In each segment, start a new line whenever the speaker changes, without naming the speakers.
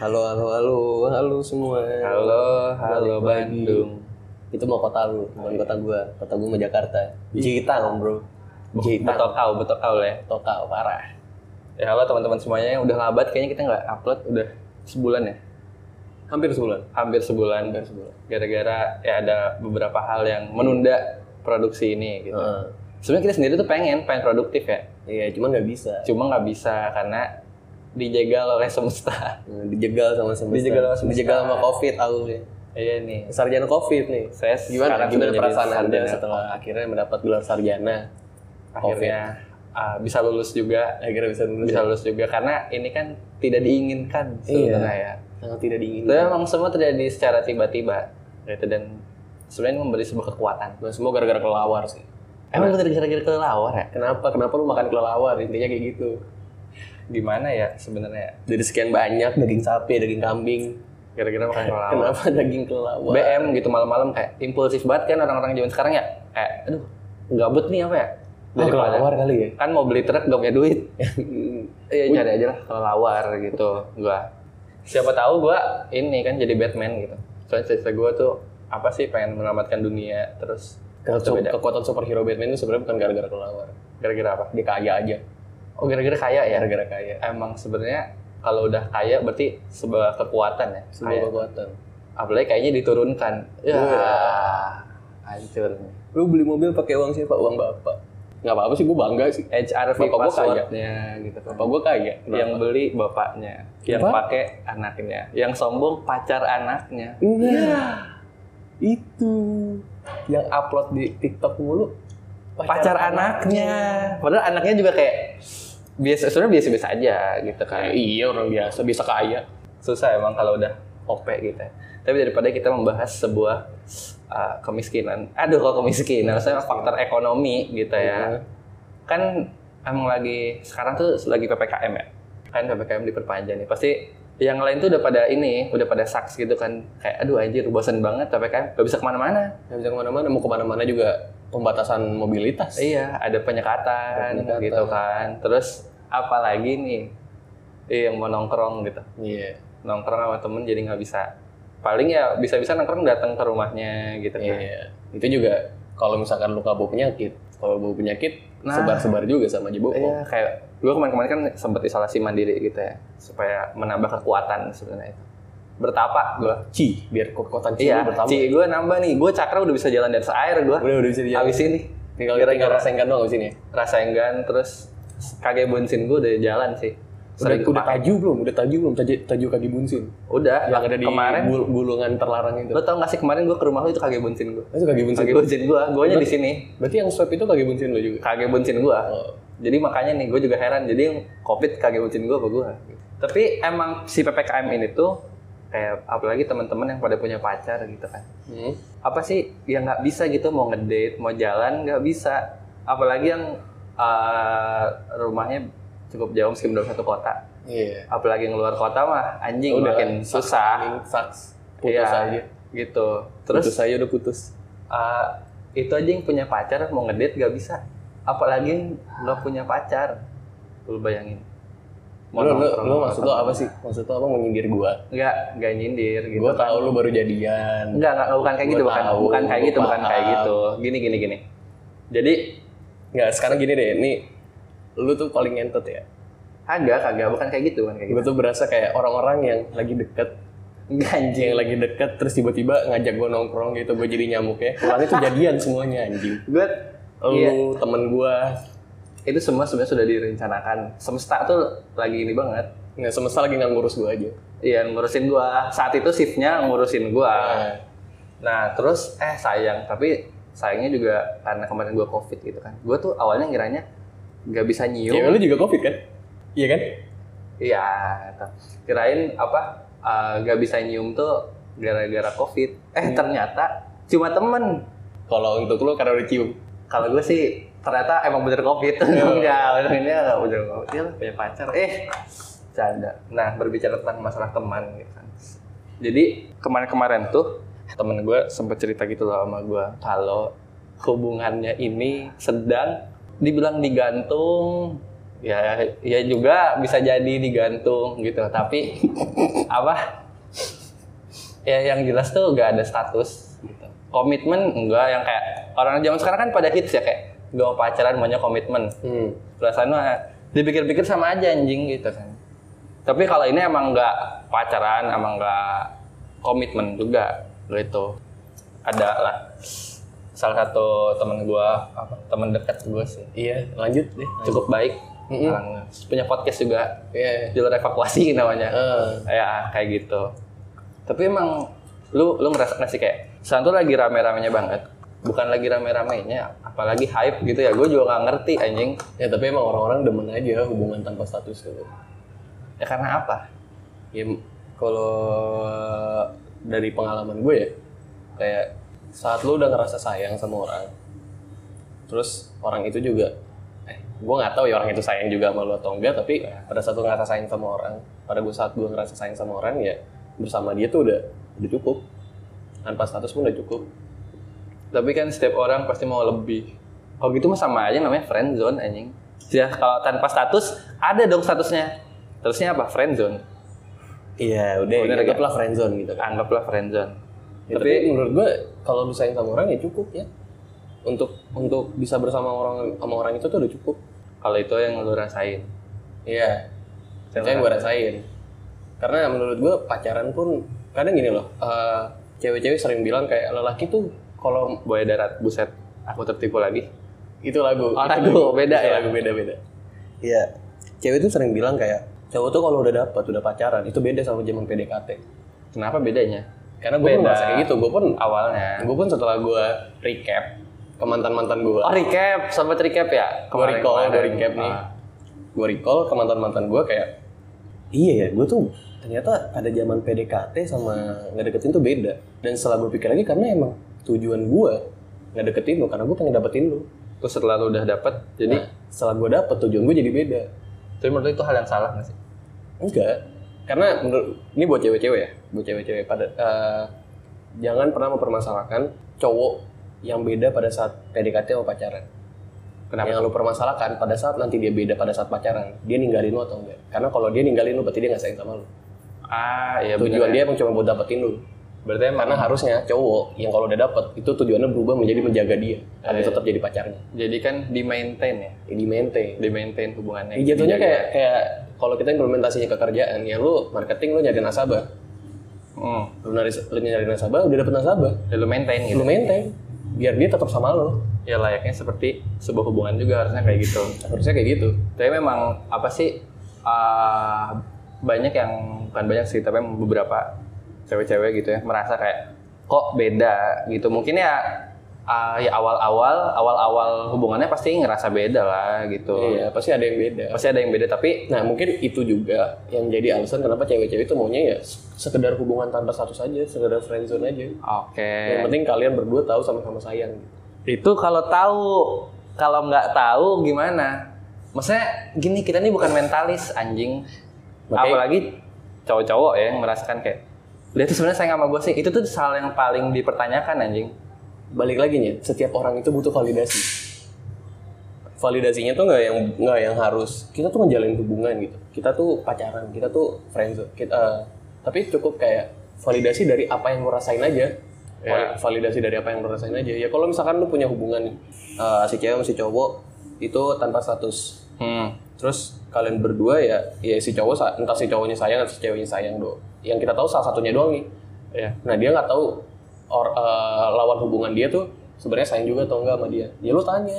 Halo, halo, halo, halo semua.
Halo, halo
Balik lagi.
Bandung. Oh, iya.
Itu mau kota lu, bukan kota gua. Kota gua mau Jakarta. Jitang, bro. Jitang.
Betok kau, betok kau lah ya.
Kota parah.
Ya halo teman-teman semuanya yang udah labat kayaknya kita nggak upload udah sebulan ya.
Hampir sebulan.
Hampir sebulan.
Hampir sebulan.
Gara-gara ya ada beberapa hal yang menunda produksi ini gitu.
Heeh.
Sebenarnya kita sendiri tuh pengen, pengen produktif ya.
Iya, cuman nggak bisa.
Cuma nggak bisa karena dijegal oleh semesta.
Hmm, Dijegal sama semesta.
Dijegal sama semesta.
Dijegal sama covid aku ya.
Iya nih.
Sarjana covid nih.
Saya
Gimana,
sekarang
gimana
sudah jadi
perasaan anda
sarjana.
setelah akhirnya mendapat gelar sarjana?
akhirnya ah, bisa lulus juga
Akhirnya bisa lulus. ya? Iya.
bisa lulus juga karena ini kan tidak diinginkan sebenarnya ya.
Sangat tidak
Itu
diinginkan.
memang semua terjadi secara tiba-tiba gitu dan sebenarnya ini memberi sebuah kekuatan.
Nah, semua gara-gara kelelawar sih.
Emang bener gara-gara kelelawar ya?
Kenapa? Kenapa lu makan kelelawar? Intinya kayak gitu.
Gimana ya sebenarnya?
Dari sekian banyak daging sapi, daging kambing,
Gara-gara makan kelelawar.
kenapa daging kelelawar?
BM gitu malam-malam kayak impulsif banget kan orang-orang zaman sekarang ya. Kayak aduh, gabut nih apa ya? Daripada
kali ya?
kan mau beli truk gak punya duit. Iya cari aja lah kelelawar gitu gua. Siapa tahu gua ini kan jadi Batman gitu. Soalnya cerita gua tuh apa sih pengen menyelamatkan dunia terus
Kekuatan,
Beda.
kekuatan superhero Batman itu sebenarnya bukan gara-gara kelelawar.
gara-gara apa?
Dia kaya aja,
Oh gara-gara kaya ya?
gara-gara kaya.
Emang sebenarnya kalau udah kaya berarti sebuah kekuatan ya.
Semua
Kaya.
kekuatan.
Apalagi kayaknya diturunkan. Ya.
Iya. Wah.
Hancur. nih.
Lu beli mobil pakai uang siapa? Uang bapak. Gak apa-apa sih, gue bangga sih.
HRV
Bapak gua
passwordnya gitu.
Bapak gue kaya.
Yang beli bapaknya, yang
Apa?
pakai anaknya, yang sombong pacar anaknya.
Iya. Itu. Yang upload di TikTok mulu.
pacar anaknya. Padahal anaknya juga kayak biasa sebenarnya biasa-biasa aja gitu kan.
Ya, iya orang biasa, bisa kaya.
Susah emang kalau udah OP gitu. ya. Tapi daripada kita membahas sebuah uh, kemiskinan. Aduh kalau kemiskinan, maksudnya faktor ekonomi gitu
Iya.
ya. Kan emang lagi sekarang tuh lagi PPKM ya. Kan PPKM diperpanjang nih. Pasti yang lain tuh udah pada ini, udah pada saks gitu kan. Kayak aduh anjir bosan banget PPKM, gak bisa kemana-mana.
Gak bisa kemana-mana, mau kemana-mana juga pembatasan mobilitas.
Iya, ada
Ada
penyekatan,
penyekatan.
gitu kan. Terus apalagi nih eh, yang mau nongkrong gitu.
Iya.
Nongkrong sama temen jadi nggak bisa. Paling ya bisa-bisa nongkrong datang ke rumahnya gitu kan.
Iya. Itu juga kalau misalkan luka bau penyakit, kalau bau penyakit
Nah.
sebar-sebar juga sama aja bohong.
Iya, kayak gue kemarin-kemarin kan sempat isolasi mandiri gitu ya, supaya menambah kekuatan sebenarnya itu. Bertapa gue.
Ci, biar kekuatan ci
Iya,
lu bertambah.
Ci, gue nambah nih. Gue cakra udah bisa jalan di atas air gue.
Udah udah bisa dijalan.
Habis ini
Tinggal
Gara-gara-
tinggal rasain kan doang abis ini.
rasa enggan terus kage bensin gue udah jalan sih.
Udah,
Sering
udah
kepake.
taju belum? Udah taju belum? Taju, taju kaki bunsin.
udah,
Yang ada di
kemarin
gul- gulungan terlarang itu.
Lo tau gak sih kemarin gue ke rumah lo itu kage bunsin gue.
Itu kaki bunsin.
Kage bunsin gue, gue nya di sini.
Berarti yang swab itu kaki bunsin lo juga.
Kage bunsin gue.
Oh.
Jadi makanya nih gue juga heran. Jadi yang covid kage bunsin gue apa gue? Tapi emang si ppkm ini tuh kayak apalagi teman-teman yang pada punya pacar gitu kan.
Hmm.
Apa sih yang nggak bisa gitu mau ngedate, mau jalan nggak bisa. Apalagi yang eh, rumahnya cukup jauh meskipun dalam satu kota.
Iya.
Apalagi yang luar kota mah anjing
Udah,
makin
sak-
susah.
Mending Saks. Putus
Iya,
aja.
gitu. Terus
putus aja udah putus.
Uh, itu aja yang punya pacar mau ngedate gak bisa apalagi yang nggak punya pacar lu bayangin
Lo, lo, lo maksud lo apa sih? Maksud lo apa menyindir gua?
nggak nggak nyindir gitu
Gua tahu lo baru jadian.
nggak nggak bukan kayak
Gua
gitu bukan
tahu,
bukan kayak
gua
gitu bukan kayak
paham.
gitu gini gini gini jadi
Nggak, sekarang gini deh, nih lu tuh paling ngentot ya.
agak kagak bukan kayak gitu bukan kayak gitu
Gue tuh berasa kayak orang-orang yang lagi deket,
nggak anjing
yang lagi deket, terus tiba-tiba ngajak gue nongkrong gitu, gue jadi nyamuk ya. Pulangnya tuh jadian semuanya anjing.
gue
Lu,
Iya.
temen gue,
itu semua sebenarnya sudah direncanakan semesta tuh lagi ini banget
nggak semesta lagi nggak ngurus gue aja.
Iya ngurusin gua saat itu shiftnya ngurusin gua
Nah,
Nah, terus eh sayang, tapi sayangnya juga karena kemarin gue covid gitu kan. Gue tuh awalnya ngiranya nggak bisa
ya, lu
nyium.
juga covid kan? Iya kan?
Iya, gitu. kirain apa eh, nggak bisa nyium tuh gara-gara covid. Eh ternyata cuma temen.
Kalau untuk lu karena udah cium.
Kalau gue sih ternyata emang bener covid. Enggak, untungnya nggak bener covid. Dia punya pacar. Eh, canda. Nah, berbicara tentang masalah teman gitu kan. Jadi kemarin-kemarin tuh temen gue sempet cerita gitu loh sama gue kalau hubungannya ini sedang dibilang digantung ya ya juga bisa jadi digantung gitu tapi apa ya yang jelas tuh gak ada status gitu. komitmen enggak yang kayak orang zaman sekarang kan pada hits ya kayak gak mau pacaran maunya komitmen
Hmm.
perasaan mah eh, dipikir-pikir sama aja anjing gitu kan tapi kalau ini emang nggak pacaran emang nggak komitmen juga gitu ada lah salah satu temen gua apa, temen dekat gua sih
Iya, lanjut deh.
cukup baik
Mm-mm.
orangnya. punya podcast juga
Iya.
jalur evakuasi namanya
Eh,
ya kayak gitu tapi emang lu lu ngerasa nggak sih kayak sekarang tuh lagi rame-ramenya banget bukan lagi rame-ramenya apalagi hype gitu ya gue juga nggak ngerti anjing
ya tapi emang orang-orang demen aja hubungan tanpa status gitu.
ya karena apa
Ya kalau eh, dari pengalaman gue ya kayak saat lu udah ngerasa sayang sama orang terus orang itu juga eh gue nggak tahu ya orang itu sayang juga sama lu atau enggak tapi pada saat lu ngerasa sayang sama orang pada gue saat gue ngerasa sayang sama orang ya bersama dia tuh udah udah cukup tanpa status pun udah cukup
tapi kan setiap orang pasti mau lebih kalau gitu mah sama aja namanya friend zone anjing ya kalau tanpa status ada dong statusnya terusnya apa friend zone
iya udah
Bener,
anggaplah friendzone gitu kan
anggaplah friend zone
Ya, tapi, menurut gue kalau lu sayang sama orang ya cukup ya untuk untuk bisa bersama orang sama orang itu tuh udah cukup
kalau itu yang lu rasain
Iya. Itu yang gue rasain. Karena menurut gue pacaran pun kadang gini loh. eh, Cewek-cewek sering bilang kayak lelaki tuh kalau
buaya darat buset aku tertipu lagi
itu lagu.
Oh,
itu
lagu. Beda
itu
ya?
Lagu beda-beda. Iya. Cewek tuh sering bilang kayak cowok tuh kalau udah dapet udah pacaran itu beda sama zaman PDKT.
kenapa bedanya
Karena gue pun
Beda.
merasa kayak gitu. Gue pun
awalnya
gue pun setelah gue recap ke mantan-mantan gue.
oh recap sobat recap ya
gue
Kemarin-
recall, gue
kemarin.
recap nih.
Ah.
Gue recall ke mantan-mantan gue kayak, iya ya, gue tuh ternyata ada zaman PDKT sama ngedeketin tuh beda. Dan setelah gue pikir lagi karena emang tujuan gue ngedeketin lo, karena gue pengen dapetin lo.
terus setelah lu udah dapet jadi
Nah, setelah gue dapet, tujuan gue jadi beda.
tapi menurut lu itu hal yang salah nggak sih
Enggak, karena menurut, ini buat cewek-cewek ya, buat cewek-cewek pada, eh, jangan pernah mempermasalahkan cowok yang beda pada saat PDKT atau pacaran.
kenapa
Yang lu permasalahkan pada saat nanti dia beda pada saat pacaran, dia ninggalin lu atau enggak? Karena kalau dia ninggalin lu berarti dia nggak sayang sama lu.
ah ya
Tujuan
bener ya.
dia emang cuma buat dapetin lu.
berarti emang
Karena harusnya cowok yang kalau udah dapet itu tujuannya berubah menjadi menjaga dia, tapi
iya.
tetap jadi pacarnya.
jadi kan di maintain ya
Ya, di maintain.
di maintain hubungannya
Ya, jatuhnya
Dijaga.
kayak kayak kalau kita implementasinya ke kerjaan, ya lu marketing lu nyari nasabah,
hmm.
lu nyari, lu nyari nasabah, udah dapet nasabah,
ya lu maintain gitu
lu maintain biar dia tetap sama lo.
ya layaknya seperti sebuah hubungan juga harusnya kayak gitu
Harusnya kayak gitu.
tapi memang apa sih ah, banyak yang bukan banyak sih tapi emang beberapa cewek-cewek gitu ya merasa kayak kok beda gitu mungkin ya ah, ya awal-awal awal-awal hubungannya pasti ngerasa beda lah gitu
Iya, pasti ada yang beda.
pasti ada yang beda tapi
Nah mungkin itu juga yang jadi alasan kenapa cewek-cewek itu maunya ya sekedar hubungan tanpa status aja, sekedar friendzone aja.
oke
Yang penting kalian berdua tahu sama-sama sayang.
itu kalau tahu kalau nggak tahu gimana maksudnya gini kita ini bukan mentalis anjing
Makanya-
apalagi cowok-cowok ya yang merasakan kayak dia tuh sebenarnya sayang sama gue sih itu tuh hal yang paling dipertanyakan anjing
Balik lagi nih, setiap orang itu butuh validasi. Validasinya tuh nggak yang nggak yang harus kita tuh ngejalin hubungan gitu. Kita tuh pacaran, kita tuh friendzone. Kita, eh, tapi cukup kayak validasi dari apa yang lo rasain aja. Val- Validasi dari apa yang lo rasain aja. Ya kalau misalkan lu punya hubungan eh, si cewek sama si cowok itu tanpa status
hmm.
Terus kalian berdua ya, ya si cowok sa- entah si cowoknya sayang atau si ceweknya sayang do. Yang kita tahu salah satunya doang nih.
ya
Nah dia nggak tahu or- eh, lawan hubungan dia tuh sebenarnya sayang juga atau enggak sama dia. Ya lu tanya.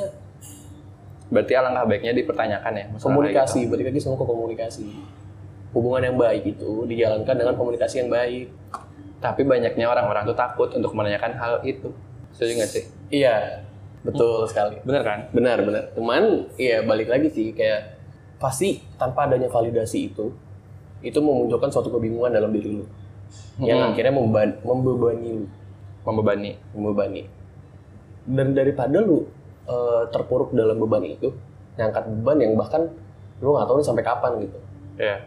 berarti alangkah baiknya dipertanyakan ya masalah kayak gitu.
Komunikasi, balik lagi semua ke komunikasi. Hubungan yang baik itu dijalankan dengan komunikasi yang baik.
tapi banyaknya orang-orang tuh takut untuk menanyakan hal itu setuju nggak sih
Iya, betul sekali.
bener kan
Benar, benar. Cuman ya balik lagi sih kayak pasti tanpa adanya validasi itu itu memunculkan suatu kebingungan dalam diri lu yang
Hmm.
akhirnya memba- membebani lu.
membebani
membebani dan daripada lu eh, terpuruk dalam beban itu ngangkat beban yang bahkan lu nggak tahu nih sampai kapan gitu
ya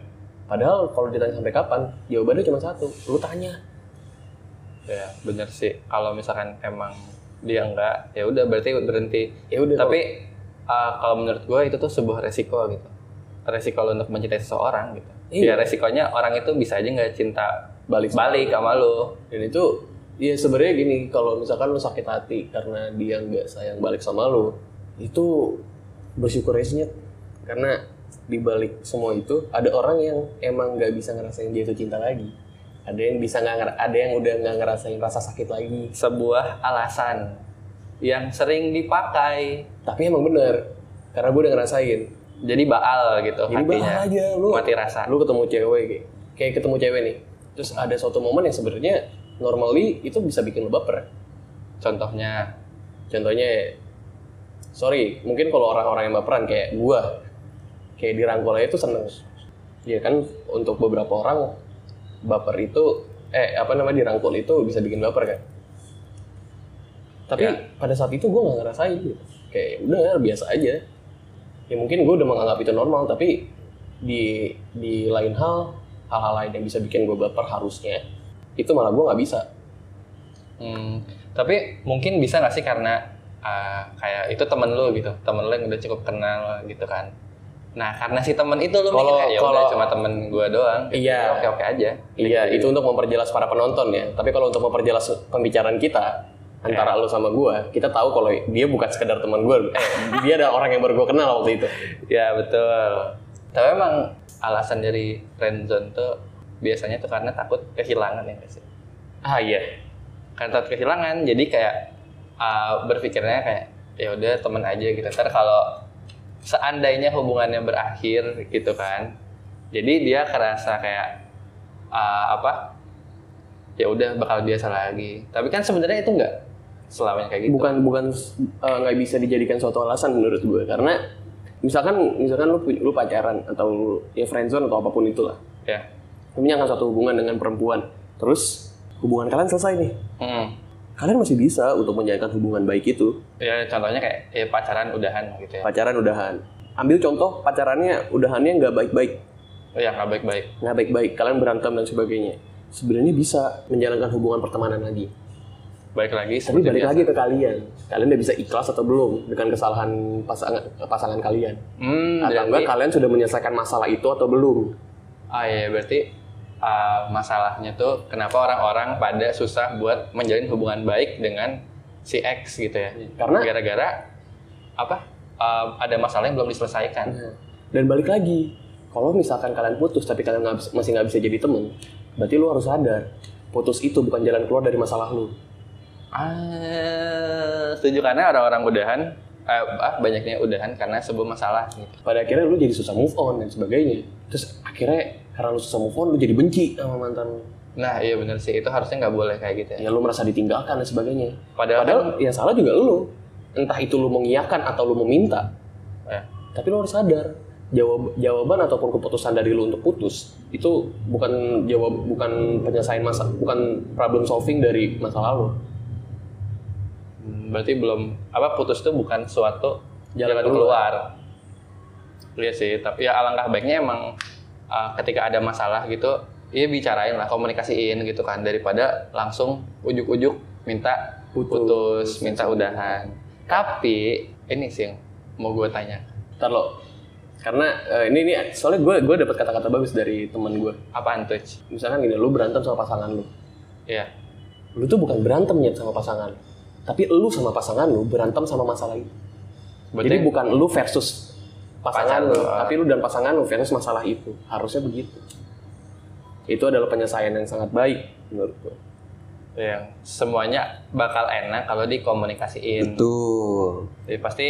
padahal kalau ditanya sampai kapan jawabannya cuma satu lu tanya
ya bener sih kalau misalkan emang dia enggak ya udah berarti berhenti
ya udah
eh, tapi uh, kalau menurut gue itu tuh sebuah resiko gitu resiko lo untuk mencintai seseorang gitu.
Iya.
Ya resikonya orang itu bisa aja nggak cinta
Balik sama
balik sama lo.
dan itu ya sebenarnya gini kalau misalkan lu sakit hati karena dia nggak sayang balik sama lu itu bersyukur aja karena di balik semua itu ada orang yang emang nggak bisa ngerasain dia itu cinta lagi ada yang bisa nggak nger- ada yang udah nggak ngerasain rasa sakit lagi
Sebuah alasan yang sering dipakai.
tapi emang bener karena gue udah ngerasain
Jadi baal gitu
jadi
hatinya.
bakal aja lu
Mati rasa.
lu ketemu cewek kayak kayak ketemu cewek nih terus ada suatu momen yang sebenarnya normally itu bisa bikin lu baper
Contohnya
contohnya sorry mungkin kalau orang-orang yang baperan kayak gua kayak dirangkul aja itu seneng ya kan untuk beberapa orang baper itu eh apa namanya dirangkul itu bisa bikin baper kan tapi
Ya.
pada saat itu gua nggak ngerasain gitu. kayak udah biasa aja ya mungkin gua udah menganggap itu normal tapi di di lain hal hal-hal lain yang bisa bikin gua baper harusnya itu malah gua nggak bisa
Hmm, tapi mungkin bisa nggak sih karena ah, kayak itu temen lu gitu, temen lu yang udah cukup kenal gitu kan. Nah karena si temen itu lu
Kalau-
mikir kayak, "Ya
kalau-
udah, cuma temen gua doang,
Iya.
oke oke aja.
Iya, itu untuk memperjelas para penonton ya. Tapi kalau untuk memperjelas pembicaraan kita antara lo sama gua, kita tahu kalau dia bukan sekedar teman gua. Eh, dia ada orang yang baru gua kenal waktu itu.
Ya betul. Tapi emang alasan dari friendzone tuh biasanya tuh karena takut kehilangan ya nggak sih.
Ah iya.
Karena takut kehilangan, jadi kayak ah, berpikirnya kayak ya udah temen aja gitu. Ntar kalau seandainya hubungannya berakhir gitu kan, jadi dia kerasa kayak ah, apa? Ya udah bakal biasa lagi. Tapi kan sebenarnya itu nggak selamanya kayak gitu.
Bukan bukan eh, nggak bisa dijadikan suatu alasan menurut gua karena misalkan misalkan lu punya- lu pacaran atau lu, ya friendzone atau apapun itulah.
Ya.
Lu menyangka suatu hubungan dengan perempuan. Terus hubungan kalian selesai nih.
Hmm.
Kalian masih bisa untuk menjalankan hubungan baik itu.
Ya contohnya kayak ya, pacaran udahan gitu ya.
Pacaran udahan. Ambil contoh pacarannya udahannya nggak baik-baik.
Ya nggak baik-baik.
nggak baik-baik, kalian berantem dan sebagainya. Sebenarnya bisa menjalankan hubungan pertemanan lagi.
Baik lagi.
Tapi
seperti
balik
biasa.
lagi ke kalian. Kalian udah bisa ikhlas atau belum dengan kesalahan pasangan pasangan kalian.
Hmm,
Atau
berarti,
enggak kalian sudah menyelesaikan masalah itu atau belum?
ah iya berarti ah, masalahnya tuh kenapa orang-orang pada susah buat menjalin hubungan baik dengan si X gitu ya?
Karena
Gara-gara apa? ah, ada masalah yang belum diselesaikan.
Nah, dan balik lagi, kalau misalkan kalian putus tapi kalian nggak bisa- masih nggak bisa jadi temen, berarti lu harus sadar putus itu bukan jalan keluar dari masalah lu.
Ah, setuju karena orang-orang udahan eh, ah, banyaknya udahan karena sebuah masalah. Gitu.
Pada akhirnya lu jadi susah move on dan sebagainya. Terus akhirnya karena lu susah move on, lu jadi benci sama mantan lu.
Nah iya bener sih itu harusnya nggak boleh kayak gitu ya.
Ya lu merasa ditinggalkan dan sebagainya.
Padahal,
Padahal
kan-
yang salah juga lu. Entah itu lu mengiyakan atau lu meminta.
Eh.
Tapi lu harus sadar, jawab jawaban ataupun keputusan dari lu untuk putus itu bukan jawab bukan penyelesaian masa bukan problem solving dari masa lalu.
Hmm, berarti belum apa putus itu bukan suatu
Jalan
jalan, keluar. Iya sih, tapi ya alangkah baiknya emang uh, ketika ada masalah gitu, ya bicarain lah, komunikasiin gitu kan daripada langsung ujuk-ujuk minta putus, minta udahan. Tapi ini sih yang mau gue tanya,
Ntar lo. Karena eh, ini ini soalnya gue gue dapat kata-kata bagus dari teman gue.
apaan tuh? Ci?
Misalkan gini, lu berantem sama pasangan lu.
Iya.
Lu tuh bukan berantem nyet sama pasangan. Tapi lu sama pasangan lu berantem sama masalah itu. Jadi
Berarti
bukan lu versus
Pacar
pasangan lu,
lu.
tapi lu dan pasangan lu versus masalah itu. Harusnya begitu. Itu adalah penyelesaian yang sangat baik menurutku.
yang semuanya bakal enak kalau dikomunikasiin.
Betul.
Jadi pasti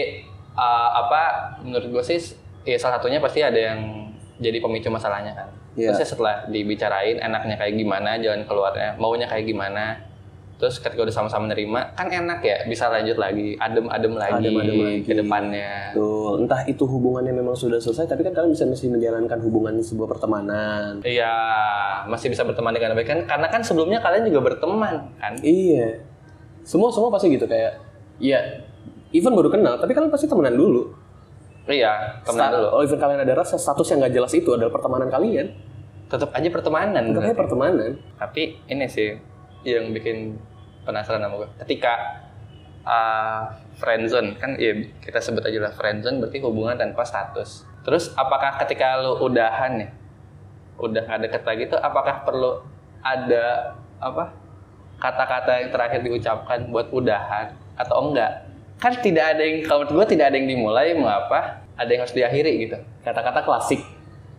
uh, apa menurut gue sih ya salah satunya pasti ada yang jadi pemicu masalahnya kan.
Iya.
Terus ya setelah dibicarain enaknya kayak gimana, jalan keluarnya, maunya kayak gimana. Terus ketika udah sama-sama nerima, kan enak ya, bisa lanjut lagi, adem-adem lagi,
Adem-adem lagi.
ke depannya.
Betul. Entah itu hubungannya memang sudah selesai, tapi kan kalian bisa masih menjalankan hubungan sebuah pertemanan.
Iya, masih bisa berteman dengan baik kan? Karena kan sebelumnya kalian juga berteman kan?
Iya. Semua semua pasti gitu kayak ya even baru kenal, tapi kalian pasti temenan dulu.
Iya, teman
Sta-
dulu.
Oh, even kalian ada rasa status yang nggak jelas itu adalah pertemanan kalian.
Tetap aja pertemanan.
Tetapnya
berarti.
pertemanan.
tapi ini sih yang bikin penasaran sama gue ketika ah, iya, uh, friendzone kan ya kita sebut aja lah friendzone berarti hubungan tanpa status Terus apakah ketika lu udahan ya, udah nggak deket lagi tuh apakah perlu ada apa kata-kata yang terakhir diucapkan buat udahan atau enggak? Kan tidak ada yang kalau menurut gue tidak ada yang dimulai mengapa ada yang harus diakhiri gitu.
kata-kata klasik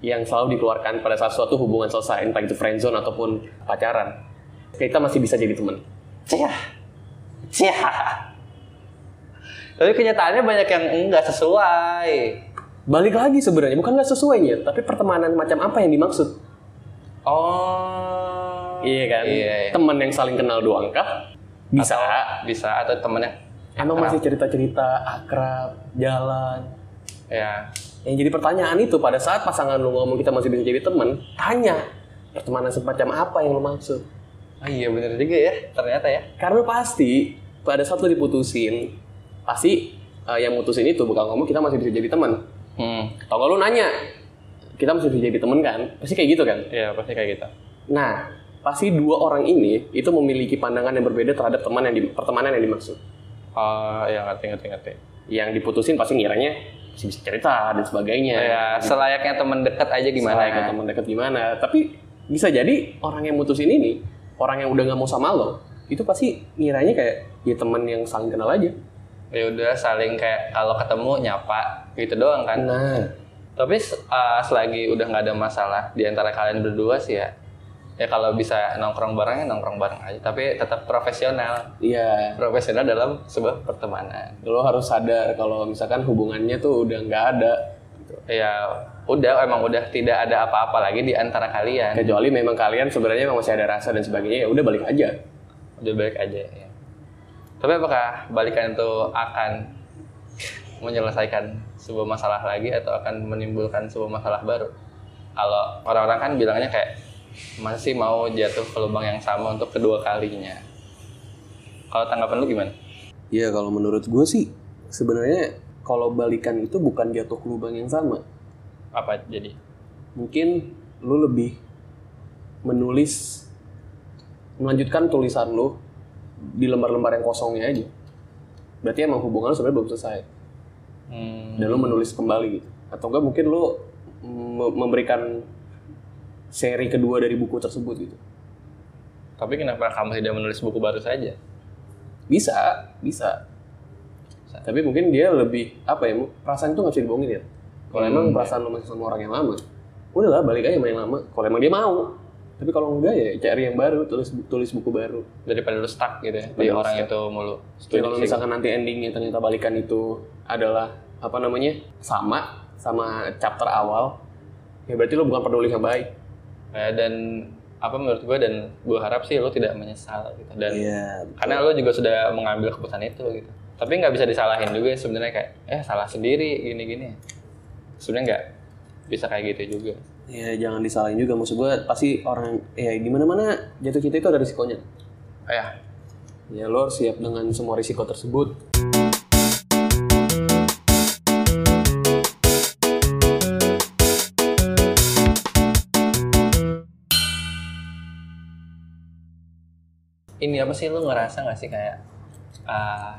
yang selalu dikeluarkan pada saat suatu hubungan selesai, entah itu friendzone ataupun pacaran. Kita masih bisa jadi teman.
Cih. Cih. Tapi kenyataannya banyak yang enggak sesuai.
Balik lagi sebenarnya, bukan nggak sesuainya, tapi pertemanan macam apa yang dimaksud?
Oh.
Iya kan?
Iya. iya.
Teman yang saling kenal doang kah? Bisa.
Bisa atau temennya.
Emang masih cerita-cerita akrab, jalan.
Ya.
Yang jadi pertanyaan itu pada saat pasangan lu ngomong kita masih bisa jadi teman, tanya pertemanan semacam apa yang lu maksud?
Oh iya bener juga ya, ternyata ya.
Karena pasti pada saat lu diputusin, pasti eh, yang mutusin itu bukan ngomong kita masih bisa jadi teman.
Hmm.
Atau kalau lu nanya, kita masih bisa jadi teman kan? Pasti kayak gitu kan?
Iya pasti kayak gitu.
Nah, pasti dua orang ini itu memiliki pandangan yang berbeda terhadap teman yang di, pertemanan yang dimaksud.
Oh iya ngerti ngerti ngerti.
Yang diputusin pasti ngiranya masih bisa cerita dan sebagainya.
Ya selayaknya temen dekat aja gimana? ya,
Salah ikut teman dekat gimana. Tapi bisa jadi orang yang mutusin ini, orang yang udah nggak mau sama lo, itu pasti ngiranya kayak ya teman yang saling kenal aja.
Ya udah saling kayak kalau ketemu nyapa gitu doang kan.
Nah,
Tapi uh, selagi udah nggak ada masalah di antara kalian berdua sih ya. Ya kalau bisa nongkrong bareng ya nongkrong bareng aja. Tapi tetap profesional.
iya
Profesional dalam sebuah pertemanan.
lo harus sadar kalau misalkan hubungannya tuh udah nggak ada
Ya udah emang udah tidak ada apa-apa lagi di antara kalian.
kecuali memang kalian sebenarnya memang masih ada rasa dan sebagainya ya udah balik aja
Udah balik aja ya. Tapi apakah balikan itu akan menyelesaikan sebuah masalah lagi atau akan menimbulkan sebuah masalah baru? Kalau orang-orang kan bilangnya kayak masih mau jatuh ke lubang yang sama untuk kedua kalinya. Kalau tanggapan lu gimana?
Iya kalau menurut gue sih sebenarnya kalau balikan itu bukan jatuh ke lubang yang sama.
Apa jadi?
Mungkin lu lebih menulis melanjutkan tulisan lu di lembar-lembar yang kosongnya aja. Berarti emang hubungan lu sebenarnya belum selesai
Hmm,
dan lu menulis kembali gitu. Atau enggak mungkin lu me- memberikan seri kedua dari buku tersebut gitu.
tapi kenapa kamu tidak menulis buku baru saja?
Bisa, bisa. Tapi mungkin dia lebih apa ya? Perasaan itu nggak bisa dibohongin ya. Kalau
Hmm.
emang perasaan lo masih sama orang yang lama, udahlah balik aja sama yang lama. Kalau emang dia mau. Tapi kalau enggak ya cari yang baru, tulis tulis buku baru.
Daripada lu stuck gitu ya, di
Iya,
orang
iya.
itu mulu.
Jadi
Setuju
kalau
sih.
misalkan nanti endingnya ternyata balikan itu adalah apa namanya sama sama chapter awal, ya berarti lo bukan penulis yang baik.
Ya, dan apa menurut gue dan gue harap sih lu tidak menyesal gitu dan
Iya.
karena lo juga sudah mengambil keputusan itu gitu tapi nggak bisa disalahin juga sebenarnya kayak eh salah sendiri gini gini sebenarnya nggak bisa kayak gitu juga
Ya jangan disalahin juga maksud gue pasti orang ya di mana mana jatuh cinta itu ada risikonya.
ya
Ya lo harus siap dengan semua risiko tersebut.
ini apa sih lo ngerasa nggak sih kayak ah,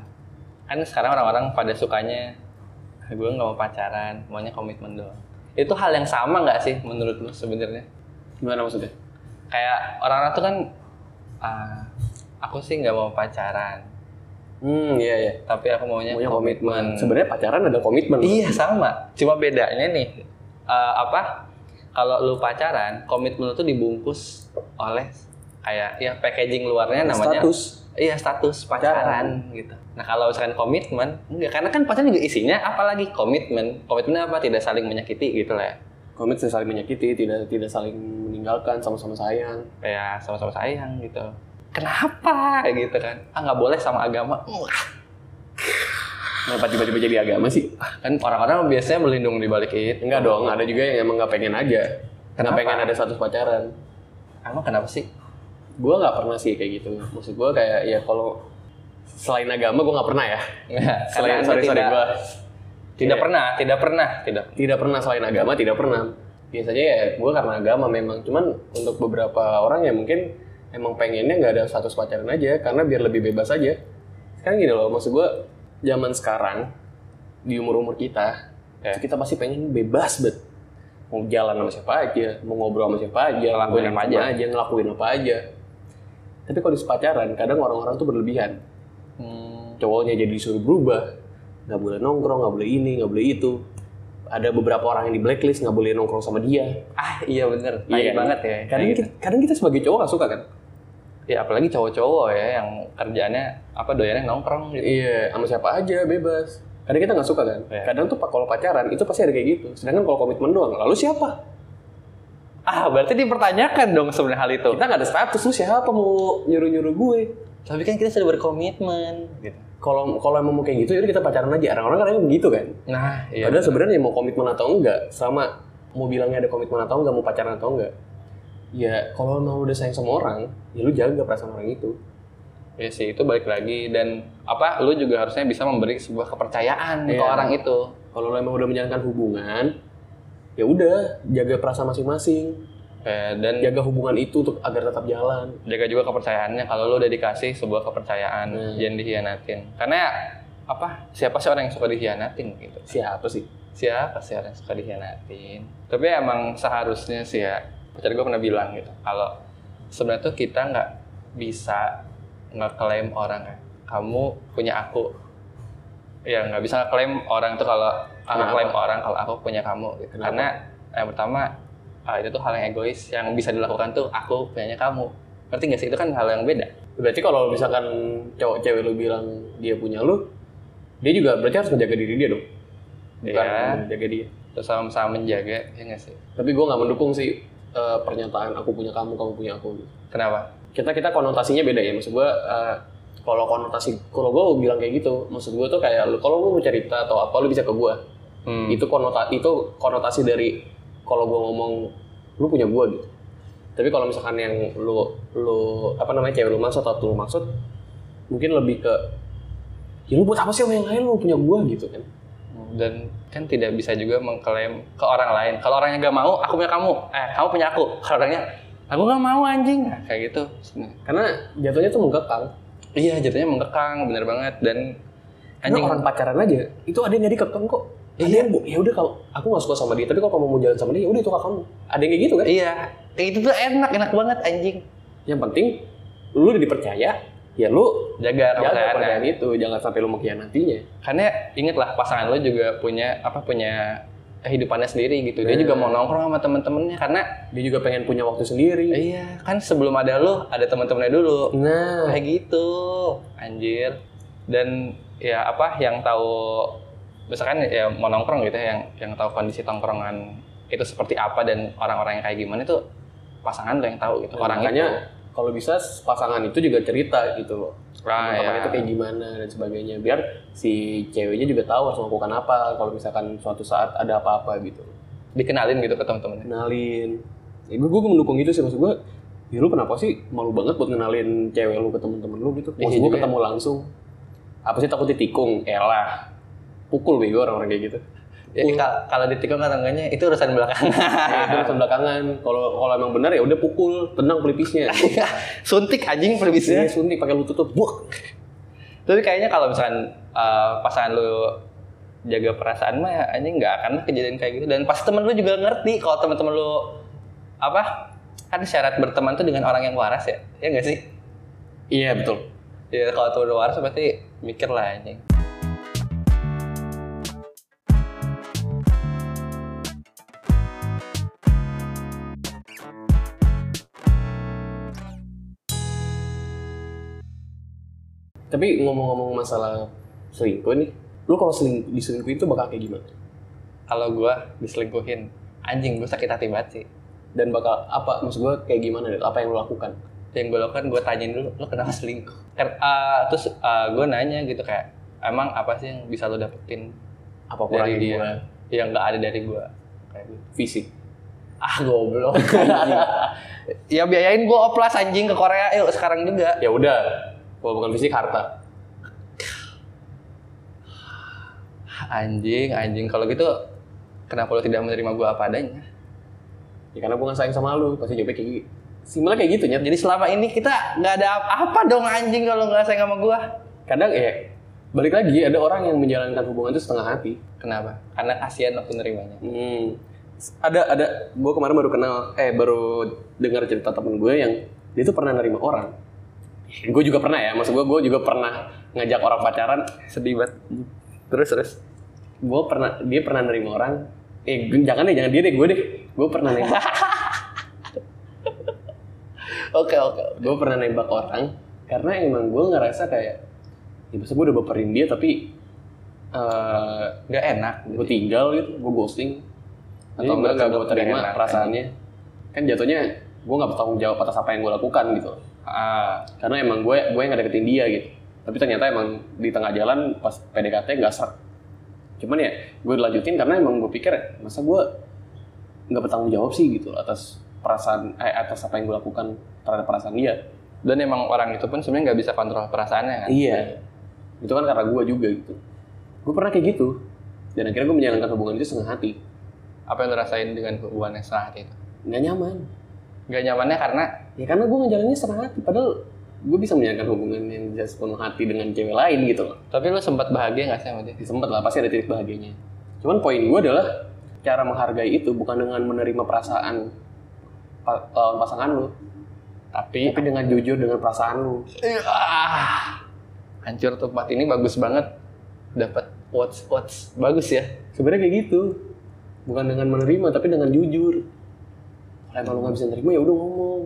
kan sekarang orang-orang pada sukanya "Ah, gue nggak mau pacaran maunya komitmen doang itu hal yang sama nggak sih menurut lo sebenarnya
Gimana maksudnya?
kayak orang-orang tuh kan ah, aku sih nggak mau pacaran
Hmm, iya iya.
tapi aku maunya,
Punya komitmen.
komitmen.
Sebenarnya pacaran ada komitmen.
Iya sama, cuma bedanya nih eh, apa? Kalau lu pacaran, komitmen lu tuh dibungkus oleh kayak ya packaging luarnya namanya
Status.
iya status pacaran gitu. Nah kalau misalkan komitmen, enggak karena kan pacaran juga isinya apalagi komitmen. Komitmennya apa? Tidak saling menyakiti gitu lah. ya.
Komit tidak saling menyakiti, tidak tidak saling meninggalkan, sama-sama sayang.
Kayak sama-sama sayang gitu. Kenapa Kayak gitu kan? Ah nggak boleh sama agama.
Kenapa tiba-tiba jadi agama sih?
Kan orang-orang biasanya melindung di balik itu.
Enggak dong, ada juga yang emang nggak pengen aja. Nggak
Kenapa?
pengen ada status pacaran.
Emang kenapa sih?
Gue nggak pernah sih kayak gitu. Maksud gue kayak ya kalau selain agama gue nggak pernah ya.
Nggak,
Selain
karena
sorry sorry
tidak-
gue
Tidak
Iya.
pernah, tidak pernah, tidak.
tidak pernah selain agama tidak pernah. Biasanya ya gue karena agama memang. Cuman untuk beberapa orang ya mungkin emang pengennya nggak ada status pacaran aja karena biar lebih bebas aja. Sekarang gini loh, maksud gue zaman sekarang di umur umur kita
Ya.
Kita pasti pengen bebas bet. Mau jalan sama siapa aja, mau ngobrol sama siapa aja,
Ngelakuin
mau
apa
sama
aja.
aja, ngelakuin apa aja. Tapi kalau di pacaran, kadang orang-orang tuh berlebihan.
Hmm,
Cowoknya jadi disuruh berubah, nggak boleh nongkrong, nggak boleh ini, nggak boleh itu. Ada beberapa orang yang di blacklist nggak boleh nongkrong sama dia.
ah iya bener,
Iya
iya
kan?
banget ya. kayak
Kadang
gitu.
kita, kadang kita sebagai cowok nggak suka kan?
Ya apalagi cowok-cowok ya yang kerjaannya apa doyannya nongkrong gitu.
Iya, sama siapa aja bebas. Kadang kita nggak suka kan?
Iya.
Kadang tuh pak kalau pacaran itu pasti ada kayak gitu. Sedangkan kalau komitmen doang, lalu siapa?
Ah berarti dipertanyakan dong sebenarnya hal itu.
Kita nggak ada status lu siapa mau nyuruh nyuruh gue?
Tapi kan kita sudah berkomitmen. Gitu.
Kalau kalau emang mau kayak gitu, yaudah kita pacaran aja. Orang-orang kadang begitu kan?
Nah, iya.
Padahal sebenarnya mau komitmen atau enggak, sama mau bilangnya ada komitmen atau enggak, mau pacaran atau enggak. Ya kalau emang lu udah sayang sama orang, ya lu jaga perasaan orang itu.
Ya sih itu balik lagi dan apa lu juga harusnya bisa memberi sebuah kepercayaan ke
Iya.
orang itu.
Kalau lu emang udah menjalankan hubungan, ya udah jaga perasaan masing-masing,
Eh, dan
jaga hubungan itu untuk agar tetap jalan.
jaga juga kepercayaannya kalau lu udah dikasih sebuah kepercayaan
Hmm.
jangan dikhianatin. Karena ya, apa siapa sih orang yang suka dikhianatin gitu?
Siapa sih?
siapa sih orang yang suka dikhianatin tapi emang seharusnya sih ya pacar gue pernah bilang gitu kalau sebenarnya tuh kita nggak bisa ngeklaim orang kan kamu punya aku ya nggak bisa ngeklaim orang tuh kalau ah,
Kenapa?
ngeklaim orang kalau aku punya kamu gitu.
Kenapa?
karena yang pertama ah, itu tuh hal yang egois yang bisa dilakukan tuh aku punyanya kamu ngerti nggak sih itu kan hal yang beda
Berarti kalau misalkan cowok cewek lu bilang dia punya lu, dia juga berarti harus menjaga diri dia dong. Bukan
Iya.
menjaga dia.
terus sama-sama menjaga ya nggak sih
Tapi gue nggak mendukung sih eh, pernyataan aku punya kamu, kamu punya aku. gitu.
kenapa
Kita kita konotasinya beda ya. Maksud gue eh, kalau konotasi kalau gue bilang kayak gitu, maksud gue tuh kayak lu kalau lu mau cerita atau apa lu bisa ke gue.
Hmm.
Itu konota itu konotasi dari kalau gue ngomong lu punya gue gitu. Tapi kalau misalkan yang lu lu apa namanya cewek lu maksud atau lu maksud mungkin lebih ke ya lu buat apa sih sama yang lain lu punya gue gitu kan.
dan kan tidak bisa juga mengklaim ke orang lain kalau orangnya nggak mau aku punya kamu eh kamu punya aku kalau orangnya aku nggak mau anjing Nah, kayak gitu
Karena jatuhnya tuh mengkekang.
iya jatuhnya mengkekang bener banget dan
Anjing
anjing Iya.
orang pacaran aja itu ada yang jadi kekang kok. Ada yang bu, ya udah kalau aku nggak suka sama dia, tapi kalau kamu mau jalan sama dia, ya udah itu hak kamu. Ada yang kayak gitu kan?
iya kayak itu tuh enak enak banget anjing
Yang penting lu udah dipercaya, ya lu jaga
jaga kepercayaan ya.
kepercayaan itu, jangan sampai lu mengkhianatinya.
karena ingatlah pasangan lo juga punya apa punya kehidupannya sendiri gitu dia
Nah.
juga mau nongkrong sama temen-temennya karena
Dia juga pengen punya waktu sendiri.
iya kan sebelum ada lo ada temen-temennya dulu
Nah,
kayak gitu anjir dan ya apa yang tahu misalkan ya mau nongkrong gitu ya, yang yang tahu kondisi tongkrongan itu seperti apa dan orang-orang yang kayak gimana itu pasangan lo yang tahu gitu
Nah,
orang
makanya
itu
kalau bisa pasangan itu juga cerita gitu loh
Ah,
teman
ya.
itu kayak gimana dan sebagainya biar si ceweknya juga tahu harus melakukan apa kalau misalkan suatu saat ada apa-apa gitu
dikenalin gitu ke teman-temannya
kenalin ya, gue gue mendukung gitu sih maksud gue ya lu kenapa sih malu banget buat kenalin cewek lu ke temen-temen lu gitu
Iya
maksud gue
juga.
ketemu langsung apa sih takut ditikung elah pukul bego orang-orang kayak gitu
jadi kal- Uh, kalau ditikung atau enggaknya itu urusan belakangan
Ya, itu urusan belakangan kalau kalau emang benar ya udah pukul tenang pelipisnya
Iya. suntik
Iya,
anjing pelibisnya
suntik pakai lutut tuh buk
tapi kayaknya kalau misalkan eh, pasangan lo jaga perasaan mah anjing nggak akan lah kejadian kayak gitu dan pasti temen lu juga ngerti kalau temen-temen lu apa kan syarat berteman tuh dengan orang yang waras ya ya nggak sih
iya betul
ya kalau temen lu waras pasti mikir lah anjing
Tapi ngomong-ngomong masalah selingkuh nih, lu kalau seling, diselingkuh itu bakal kayak gimana?
kalau gua diselingkuhin anjing gua sakit hati banget sih
Dan bakal apa? Maksud gua kayak gimana? Dad? Apa yang lu lakukan?
yang gue lakukan gue tanyain dulu lo kenapa selingkuh Ker- eh, terus gue nanya gitu kayak emang apa sih yang bisa lo dapetin
Apa
dari
kurangnya
dia
gua?
yang nggak ada dari gua kayak gitu
Fisik.
Ah goblok anjing. Ya biayain gue oplas anjing ke Korea yuk sekarang juga
Ya udah, kalau bukan fisik harta.
Anjing anjing kalau gitu Kenapa lo tidak menerima gue apa adanya
Ya karena gua nggak sayang sama lu, pasti jawabnya kayak gitu. Simpelnya kayak gitu nyet.
Jadi selama ini kita nggak ada apa dong anjing kalau nggak sayang sama gue
Kadang ya balik lagi ada orang yang menjalankan hubungan itu setengah hati
Kenapa? Karena kasihan aku nerimanya.
Hmm. Ada ada gue kemarin baru kenal eh baru dengar cerita temen gue yang dia tuh pernah nerima orang. Gue juga pernah ya, maksud gue gue juga pernah ngajak orang pacaran.
Sedih banget. Terus terus.
Gue pernah dia pernah nerima orang. Eh gue- jangan deh, jangan dia deh, gue deh. Gue pernah nembak,
Oke oke.
gue pernah nembak orang karena emang gue ngerasa kayak ya maksud gue udah baperin dia tapi eh
Gak enak.
gue tinggal gitu, gue ghosting
Jadi
atau enggak
buat
gak
lu
gue
nggak
terima
enak,
perasaannya kan jatuhnya gue nggak bertanggung jawab atas apa yang gue lakukan gitu
Ah,
karena emang gue gue yang ngedeketin dia gitu tapi ternyata emang di tengah jalan pas PDKT nggak serak cuman ya gue lanjutin karena emang gue pikir masa gue nggak bertanggung jawab sih gitu atas perasaan eh, atas apa yang gue lakukan terhadap perasaan dia
dan emang orang itu pun sebenarnya nggak bisa kontrol perasaannya kan.
iya itu kan karena gue juga gitu gue pernah kayak gitu dan akhirnya gue menjalankan hubungan itu setengah hati
Apa yang lu rasain dengan hubungan yang setengah hati itu?
nggak nyaman
Gak nyamannya karena
ya karena gue ngejalaninnya setengah hati padahal gue bisa menjalankan hubungan yang jelas penuh hati dengan cewek lain gitu loh
tapi lu sempat bahagia nggak sih sama dia?
Ya, sempet lah pasti ada titik bahagianya cuman poin gue adalah cara menghargai itu bukan dengan menerima perasaan pa- lawan pasangan lu
Tapi
tapi dengan jujur dengan perasaan lu
Ah, hancur tempat ini bagus banget. Dapat watch watch bagus ya.
sebenarnya kayak gitu bukan dengan menerima tapi dengan jujur kalau emang lu nggak bisa nerima ya udah ngomong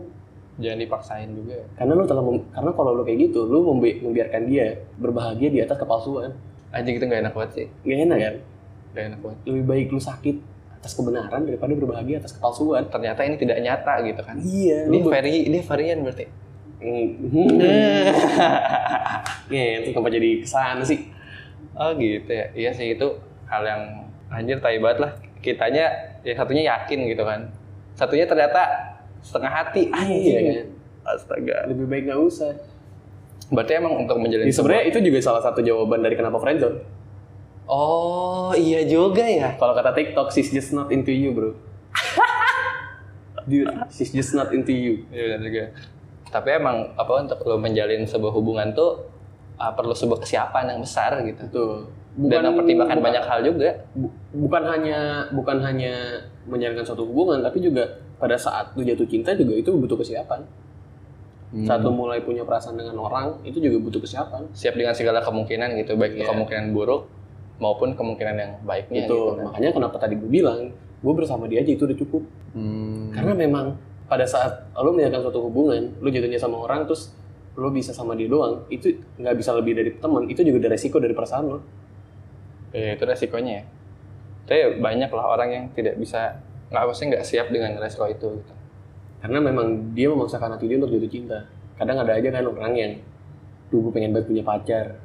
Jangan dipaksain juga. ya.
karena lu telah mem- karena kalau lu kayak gitu lu membi- membiarkan dia berbahagia di atas kepalsuan
Anjing itu nggak enak banget sih.
gak enak kan
Gak enak banget.
lebih baik lu sakit atas kebenaran daripada berbahagia atas kepalsuan.
Ternyata ini tidak nyata gitu kan.
Iya,
Ini
lu ber-
vari, ini varian berarti.
Hmm. Nge, Iya, itu kenapa jadi kesana sih?
oh gitu ya. Iya sih itu hal yang anjir tai banget lah. Kitanya yang satunya yakin gitu kan. Satunya ternyata setengah hati.
Iya,
Astaga.
Lebih baik nggak usah.
Berarti emang untuk menjalin
Ya, sebenarnya itu juga salah satu jawaban dari kenapa friendzone.
sebuah- Oh, iya juga ya.
Kalau kata TikTok, she's just not into you, bro. Dude, she's just not into you.
Iya benar juga. Tapi emang apa untuk lo menjalin sebuah hubungan tuh ah, perlu sebuah kesiapan yang besar gitu.
Betul.
Dan mempertimbangkan
bukan-
banyak hal juga.
bu- bukan hanya bukan hanya menjalankan suatu hubungan, tapi juga pada saat lu jatuh cinta juga itu butuh kesiapan.
Hmm.
Saat lu mulai punya perasaan dengan orang, itu juga butuh kesiapan.
siap dengan segala kemungkinan gitu, baik itu
Iya.
kemungkinan buruk maupun kemungkinan yang baiknya
gitu.
gitu. kan.
Makanya kenapa tadi gue bilang, gue bersama dia aja itu udah cukup.
Hmm.
Karena memang pada saat lo menjalankan suatu hubungan, lo jatuhnya sama orang, terus lo bisa sama dia doang, itu nggak bisa lebih dari teman, itu juga ada resiko dari perasaan lo.
Ya, itu resikonya ya. Tapi ya banyak lah orang yang tidak bisa nggak pasti nggak siap dengan resiko itu gitu.
Karena memang dia memaksakan hati dia untuk jatuh cinta. Kadang ada aja kan orang yang, duh gue pengen banget punya pacar.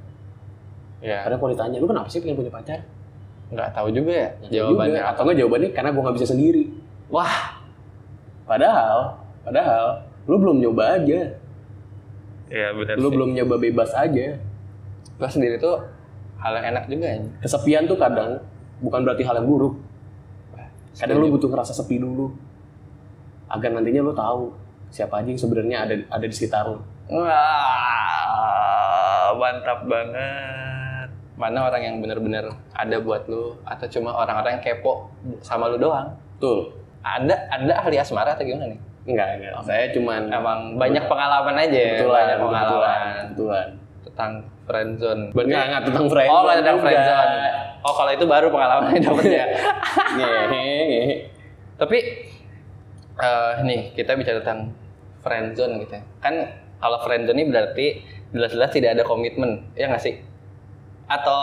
Ya,
Kadang kalau ditanya, lo kenapa sih pengen punya pacar?
nggak tahu juga ya
Nggak tahu
jawabannya.
Iya juga. Atau nggak jawabannya karena gue nggak bisa sendiri.
Wah.
Padahal, padahal, lo belum nyoba aja.
Ya benar
Lo belum nyoba bebas aja.
Lo sendiri tuh hal yang enak juga ya.
kesepian tuh kadang bukan berarti hal yang buruk. Kadang lu butuh ngerasa sepi dulu agar nantinya lu tahu siapa aja yang sebenarnya ada ada di sekitar lu.
Wah, mantap banget. Mana orang yang benar-benar ada buat lu atau cuma orang-orang yang kepo sama lu doang?
Betul.
Ada ada ahli asmara atau gimana nih?
Enggak, enggak. Saya cuman
Emang banyak pengalaman aja, ya,
kebetulan,
banyak
kebetulan,
pengalaman
kebetulan.
tentang friendzone.
Enggak, enggak tentang friend.
Oh, nggak tentang friendzone. Oh, kalau itu baru pengalamannya dapet ya.
Ngehe.
Tapi eh, nih kita bicara tentang friendzone gitu ya. Kan kalau friendzone ini berarti jelas-jelas tidak ada komitmen, ya nggak sih? Atau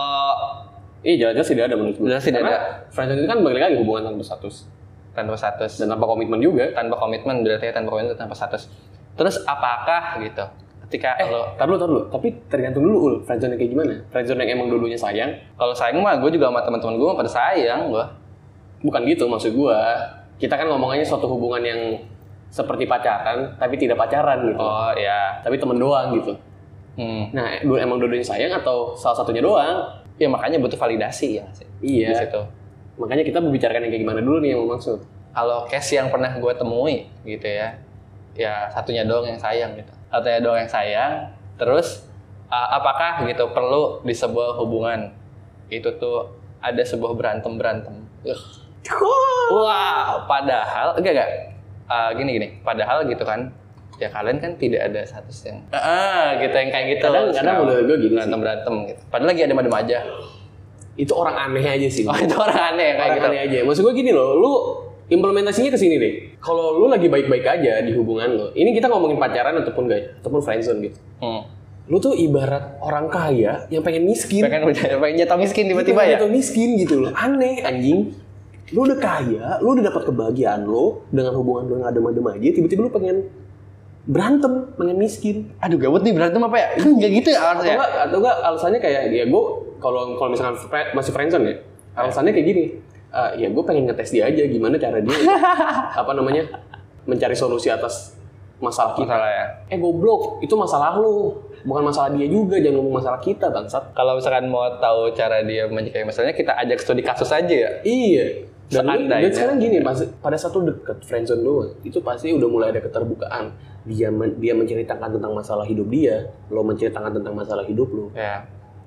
Ih, Iya, jelas-jelas tidak ada menurut gue.
Jelas tidak
Karena Friendzone itu kan balik lagi hubungan tanpa status
tanpa status?
dan tanpa komitmen juga.
Tanpa komitmen berarti ya, tanpa komitmen tanpa status. Terus apakah gitu? Ketika
Eh,
kalau
tar dulu, tar dulu. Tapi tergantung dulu, Ul. Friendzone yang kayak gimana? Friendzone yang emang dulunya sayang,
kalau sayang mah gue juga sama teman-teman gue pada sayang gue.
bukan gitu maksud gua kita kan ngomongannya suatu hubungan yang seperti pacaran tapi tidak pacaran gitu
Oh ya,
tapi temen doang gitu
hmm.
nah du- emang dua-duanya sayang atau salah satunya doang
ya makanya butuh validasi ya nggak sih di
iya
situ.
makanya kita membicarakan yang kayak gimana dulu nih yang mau maksud
kalau case yang pernah gue temui gitu ya ya satunya doang yang sayang gitu satunya doang yang sayang terus uh, apakah gitu perlu di sebuah hubungan itu tuh ada sebuah berantem berantem wah padahal enggak enggak Uh, gini gini padahal gitu kan ya kalian kan tidak ada status yang ah gitu yang kayak gitu
Kadang- kadang
Senang.
menurut gue gini sih.
berantem berantem gitu padahal lagi ada madem aja
itu orang aneh aja sih
oh itu orang aneh yang kayak
Iya. orang
gitu
aneh aja maksud gue gini loh lu implementasinya ke sini deh kalau lu lagi baik-baik aja di hubungan lo ini kita ngomongin pacaran ataupun gak ataupun friendzone gitu
hmm.
lu tuh ibarat orang kaya yang pengen miskin
pengen pengen jatuh miskin tiba-tiba ya
Atau miskin gitu loh. Aneh anjing. Lu udah kaya, lu udah dapat kebahagiaan lo dengan hubungan lu yang adem-adem aja, tiba-tiba lu pengen berantem, pengen miskin.
aduh gabut nih berantem apa ya kan nggak gitu ya
Atau
harusnya
enggak atau enggak alasannya kayak ya gue kalau kalau misalkan fre- masih friendzone ya, alasannya kayak gini. "Ah, ya gue pengen ngetes dia aja gimana cara dia gitu. apa namanya mencari solusi atas masalah kita.
masalah ya
Eh goblok, itu masalah lu, bukan masalah dia juga, jangan ngomong masalah kita bangsat.
kalau misalkan mau tahu cara dia menyikapi masalahnya kita ajak studi kasus aja ya
Iya. Dan, lu-
Seandainya.
dan sekarang gini, pas, pada satu deket friendzone doang, itu pasti udah mulai ada keterbukaan. Dia men- dia menceritakan tentang masalah hidup dia, lo menceritakan tentang masalah hidup lo.
ya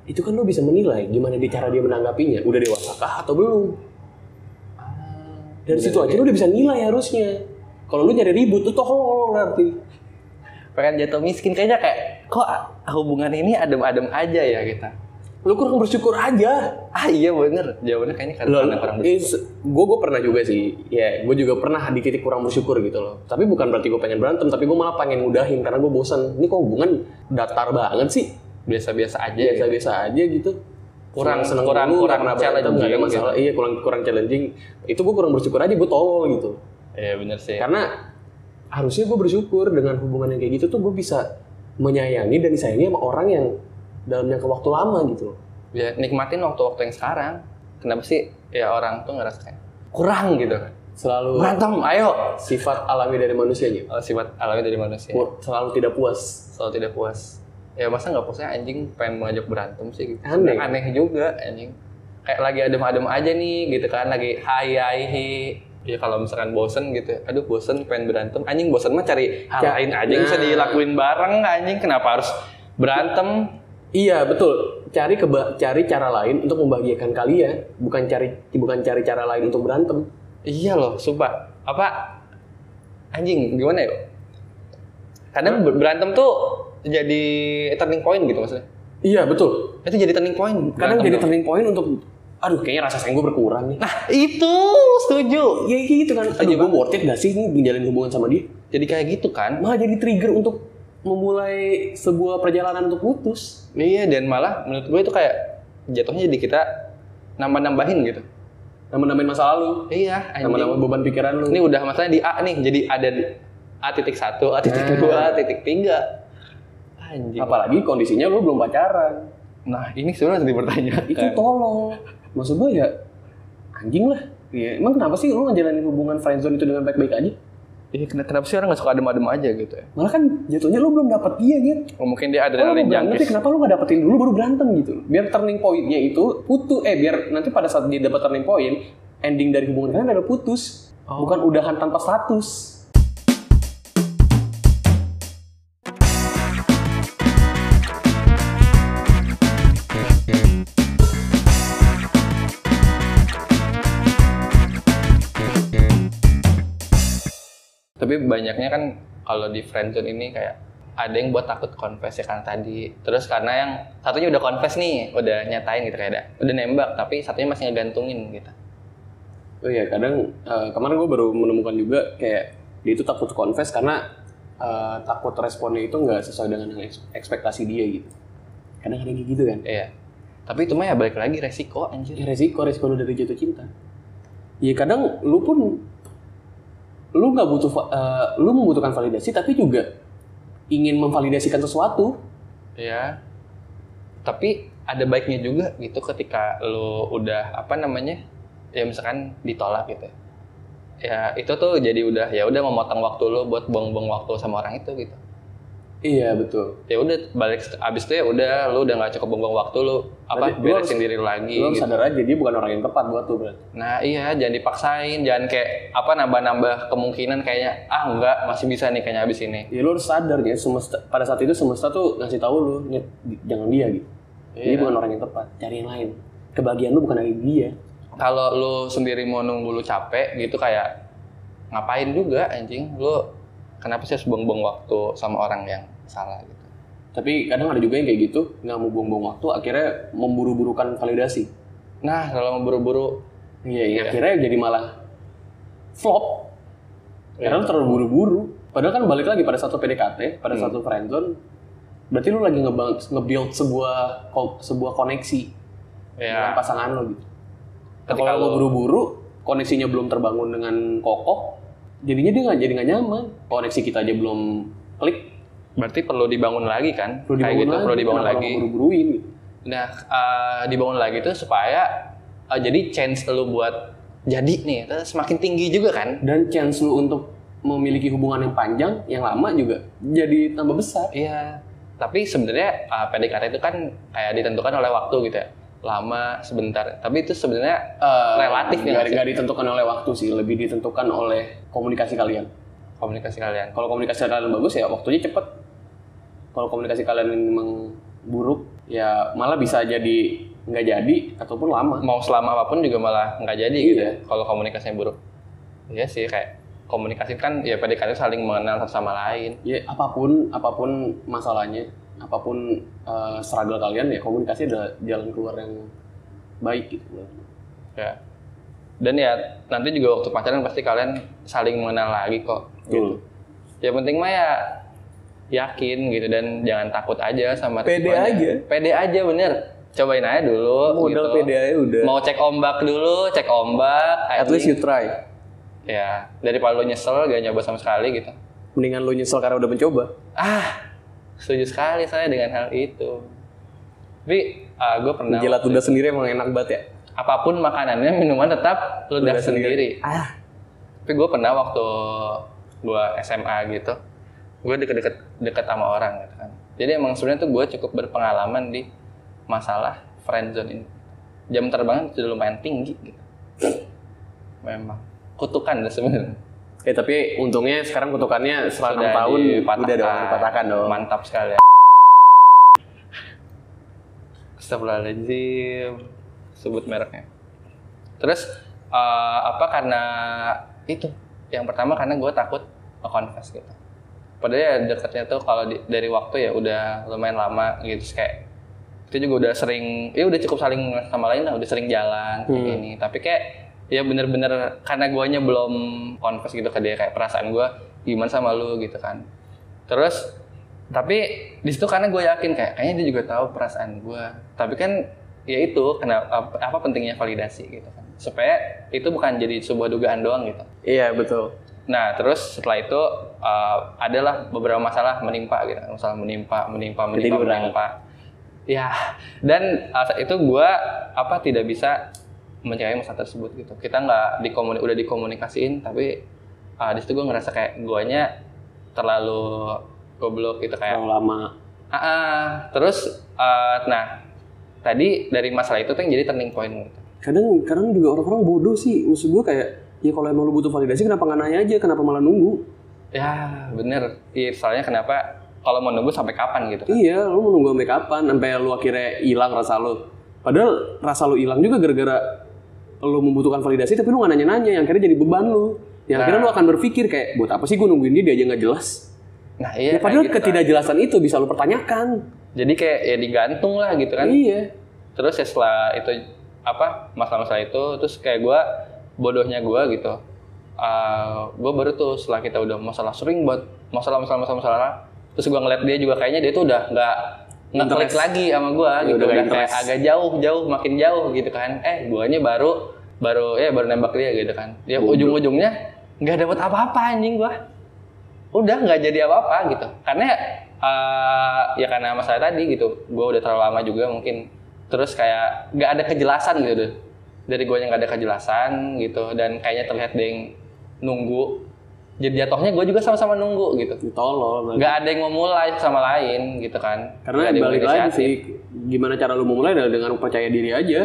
Itu kan lo bisa menilai gimana dia cara dia menanggapinya, udah dewasa kah atau belum.
Ah,
Dari situ aja lo udah bisa nilai harusnya. Kalau lu nyari ribut, lu tolol nanti.
pengen jatuh miskin kayaknya kayak kok hubungan ini adem-adem aja ya kita
Lu kurang bersyukur aja.
ah iya bener jawabannya kayaknya karena
Loh,
karena Kan kurang
gue gue pernah juga sih ya gue juga pernah di titik kurang bersyukur gitu loh tapi bukan berarti gue pengen berantem tapi gue malah pengen ngudahin karena gue bosan ini kok hubungan datar banget sih
biasa-biasa aja gitu.
biasa-biasa aja gitu
Kurang-
seneng
Iya. kurang-
dulu,
kurang
karena berantem, nggak ada
challenging gitu.
masalah iya kurang kurang challenging itu gue kurang bersyukur aja gue tolol gitu
iya bener sih
karena harusnya gue bersyukur dengan hubungan yang kayak gitu tuh gue bisa menyayangi dan disayangi sama orang yang dalam jangka waktu lama gitu loh
ya, nikmatin waktu-waktu yang sekarang kenapa sih ya orang tuh ngerasa kayak kurang gitu kan
selalu
berantem ayo
sifat alami dari manusianya
Oh, sifat alami dari manusia
Pu- selalu tidak puas
selalu tidak puas ya masa nggak puasnya anjing pengen mengajak berantem sih gitu
Aneh.
Sebenarnya aneh juga anjing kayak lagi adem-adem aja nih gitu kan lagi hai hai hi ya kalau misalkan bosen gitu aduh bosen pengen berantem anjing bosen mah cari hal
Ya,
lain aja yang bisa
nah.
dilakuin bareng anjing kenapa harus berantem
Iya betul. Cari keba cari cara lain untuk membahagiakan kalian, bukan cari bukan cari cara lain untuk berantem.
iya loh sumpah apa anjing gimana ya kadang ber- berantem tuh jadi turning point gitu maksudnya
Iya betul.
itu jadi turning point
Kadang
berantem
jadi
tuh.
turning point untuk aduh kayaknya rasa sayang gue berkurang nih.
nah itu setuju
Ya kayak gitu kan. Aduh gue worth it gak sih ini menjalin hubungan sama dia?
jadi kayak gitu kan
Malah jadi trigger untuk memulai sebuah perjalanan untuk putus.
iya dan malah menurut gue itu kayak jatuhnya jadi kita nambah nambahin gitu
Nama-namain masa lalu,
iya
nama-nama
anjing
beban pikiran lu.
ini udah masalahnya di A nih jadi ada di A titik satu A titik
Nah.
dua A titik tiga anjing
Apalagi kondisinya lu belum pacaran.
nah ini sebenarnya harus dipertanyakan
Itu tolong. Maksud gue ya anjing lah. Iya, emang kenapa sih lu ngejalanin hubungan friendzone itu dengan baik-baik aja?
Ih, ken- Iya, kenapa sih orang gak suka adem-adem aja gitu ya
malah kan jatuhnya lu belum dapet dia gitu
Oh, mungkin dia
kalau lu
adrenalin
berantem ya
jangkis
kenapa lu gak dapetin dulu baru berantem gitu biar turning pointnya itu putus eh biar nanti pada saat dia dapat turning point ending dari hubungan kalian adalah putus
Oh.
bukan udahan tanpa status
tapi banyaknya kan kalau di friendzone ini kayak ada yang buat takut confess ya karena tadi terus karena yang satunya udah confess nih udah nyatain gitu kayak ada udah nembak tapi satunya masih ngegantungin gitu
oh iya kadang eh, kemarin gue baru menemukan juga kayak dia itu takut confess karena eh, takut responnya itu nggak sesuai dengan yang eks- ekspektasi dia gitu kadang-kadang kayak gitu kan
Iya. Tapi itu mah ya balik lagi resiko anjir.
ya resiko resiko lu dari jatuh cinta ya kadang lu pun lu nggak butuh va- eh, lu membutuhkan validasi tapi juga ingin memvalidasikan sesuatu
Iya. Tapi ada baiknya juga gitu ketika lu udah apa namanya? Ya misalkan ditolak gitu. Ya itu tuh jadi udah ya udah memotong waktu lu buat buang-buang waktu sama orang itu gitu.
Iya betul.
ya udah balik abis itu ya udah lu udah nggak cukup buang-buang waktu lu
Berarti
apa
lu
beresin
harus-
diri lu lagi
Lu harus
gitu.
sadar aja dia bukan orang yang tepat buat lu berarti.
nah iya jangan dipaksain jangan kayak apa nambah-nambah kemungkinan kayaknya ah enggak masih bisa nih kayaknya abis ini
Ya lu harus sadar ya semesta pada saat itu semesta tuh ngasih tahu lu "Nyet, di- jangan dia gitu. Dia
Iya.
bukan orang yang tepat. Cari yang lain. Kebahagiaan lu bukan dari dia.
kalau lu sendiri mau nunggu lu capek gitu kayak ngapain juga anjing lu kenapa sih harus buang-buang waktu sama orang yang salah gitu
Tapi kadang ada juga yang kayak gitu nggak mau buang-buang waktu akhirnya memburu-burukan validasi.
nah kalau buru-buru
Iya, iya. akhirnya jadi malah flop. Karena lu terlalu buru-buru. Padahal kan balik lagi pada satu PDKT, pada satu friendzone, berarti lu lagi ngebang- nge-build sebuah ko- sebuah koneksi dengan
ya
pasangan lu gitu. Iya. Tapi
Ketika
kalau lu
lu-
buru-buru, koneksinya belum terbangun dengan kokoh, jadinya dia nggak jadi nggak nyaman. Koneksi kita aja belum klik,
berarti perlu dibangun lagi kan
perlu
kayak
dibangun
gitu
lagi.
perlu dibangun
Kenapa lu
lagi
Buru-buruin. gitu?
Nah, eh, dibangun lagi tuh supaya eh, jadi chance lu buat jadi nih itu semakin tinggi juga kan.
Dan chance lu untuk memiliki hubungan yang panjang, yang lama juga jadi tambah besar.
Iya. Tapi sebenarnya eh, PDKT itu kan kayak ditentukan oleh waktu gitu ya. Lama sebentar. Tapi itu sebenarnya Relatif ya,
nggak
sih?
nggak ditentukan oleh waktu sih, lebih ditentukan oleh komunikasi kalian.
komunikasi kalian.
Kalau komunikasi kalian bagus ya waktunya cepet. Kalau komunikasi kalian memang buruk ya malah bisa jadi nggak jadi ataupun lama.
Mau selama apapun juga malah nggak jadi gitu
Iya.
ya kalau komunikasinya buruk. Iya sih kayak komunikasi kan ya PDKT saling mengenal satu sama lain.
Ya apapun apapun masalahnya, apapun eh, struggle kalian ya komunikasi adalah jalan keluar yang baik gitu.
Ya. Dan ya nanti juga waktu pacaran pasti kalian saling mengenal lagi kok.
Gitu.
Ya penting mah ya yakin gitu dan jangan takut aja sama
Pede
resikonya.
aja.
Pede aja bener. Cobain aja dulu gitu.
udah.
Mau cek ombak dulu, cek ombak.
At least gitu. you
anjing.
try.
Ya, daripada lo nyesel gak nyoba sama sekali gitu.
Mendingan lu nyesel karena udah mencoba.
Ah, setuju sekali saya dengan hal itu. Tapi gue pernah
Menjilat udah sendiri emang enak banget ya.
apapun makanannya minuman tetap ludah
Ludah sendiri.
sendiri.
Ah.
Tapi gue pernah waktu gue SMA gitu, gue deket-deket deket sama orang gitu kan. Jadi emang sebenarnya tuh gue cukup berpengalaman di masalah friendzone ini. Jam terbangnya sudah lumayan tinggi gitu. Memang kutukan lah sebenarnya.
Eh tapi untungnya sekarang kutukannya setelah
Sudah
6 tahun
dipatahkan.
udah dong dipatahkan dong.
Mantap sekali. Astagfirullahaladzim. Sebut mereknya. Terus eh, apa karena itu? Yang pertama karena gue takut nge-confess gitu. Padahal ya deketnya tuh kalau di- dari waktu ya udah lumayan lama gitu Terus kayak itu juga udah sering ya udah cukup saling sama lain lah udah sering jalan kayak
Hmm.
gini tapi kayak ya bener-bener karena guanya belum confess gitu ke dia kayak perasaan gua gimana sama lu gitu kan terus tapi di situ karena gue yakin kayak kayaknya dia juga tahu perasaan gua tapi kan ya itu kenapa apa, apa pentingnya validasi gitu kan supaya itu bukan jadi sebuah dugaan doang gitu
Iya betul.
Nah, terus setelah itu uh, adalah beberapa masalah menimpa gitu. kan. Masalah menimpa, menimpa, menimpa,
Ketiduran.
menimpa. Ya, dan uh, saat itu gua apa tidak bisa mencapai masalah tersebut gitu. Kita nggak dikomuni udah dikomunikasiin tapi uh, di situ gua ngerasa kayak guanya terlalu goblok gitu kayak
Terlalu lama.
Ah, ah. terus uh, nah tadi dari masalah itu tuh yang jadi turning point gitu.
Kadang kadang juga orang-orang bodoh sih. Maksud gue kayak ya kalau emang lu butuh validasi kenapa nggak nanya aja? Kenapa malah nunggu?
Ya, bener. Iya, soalnya kenapa kalau mau nunggu sampai kapan gitu kan?
Iya, lu mau nunggu sampai kapan? Sampai lu akhirnya hilang rasa lu. Padahal rasa lu hilang juga gara-gara lu membutuhkan validasi tapi lu nggak nanya-nanya yang akhirnya jadi beban lu. Yang akhirnya lu akan berpikir kayak buat apa sih gue nungguin dia dia aja nggak jelas.
Nah, iya.
ya padahal
kayak gitu,
ketidakjelasan itu bisa lu pertanyakan.
jadi kayak ya digantung lah gitu kan
Iya.
terus ya setelah itu apa masalah-masalah itu terus kayak gua bodohnya gua gitu Ah, gua baru tuh setelah kita udah masalah sering buat masalah masalah masalah masalah terus gua ngeliat dia juga kayaknya dia tuh udah nggak nggak klik
Interest.
lagi sama gua
Ya,
gitu
udah
udah,
nggak
kayak
interest.
agak jauh jauh makin jauh gitu kan eh guanya baru baru ya baru nembak dia gitu kan ya
Bodoh.
ujung-ujungnya nggak dapet apa-apa anjing gua udah nggak jadi apa-apa gitu karena eh, ya karena masalah tadi gitu gue udah terlalu lama juga mungkin terus kayak nggak ada kejelasan gitu deh. dari gue yang nggak ada kejelasan gitu dan kayaknya terlihat dia yang nunggu jadi jatuhnya gue juga sama-sama nunggu gitu
tolol berarti.
nggak ada yang mau mulai sama lain gitu kan Nggak
karena
ada yang ya.
balik lagi
inisiatif.
sih gimana cara lu mau mulai adalah dengan percaya diri aja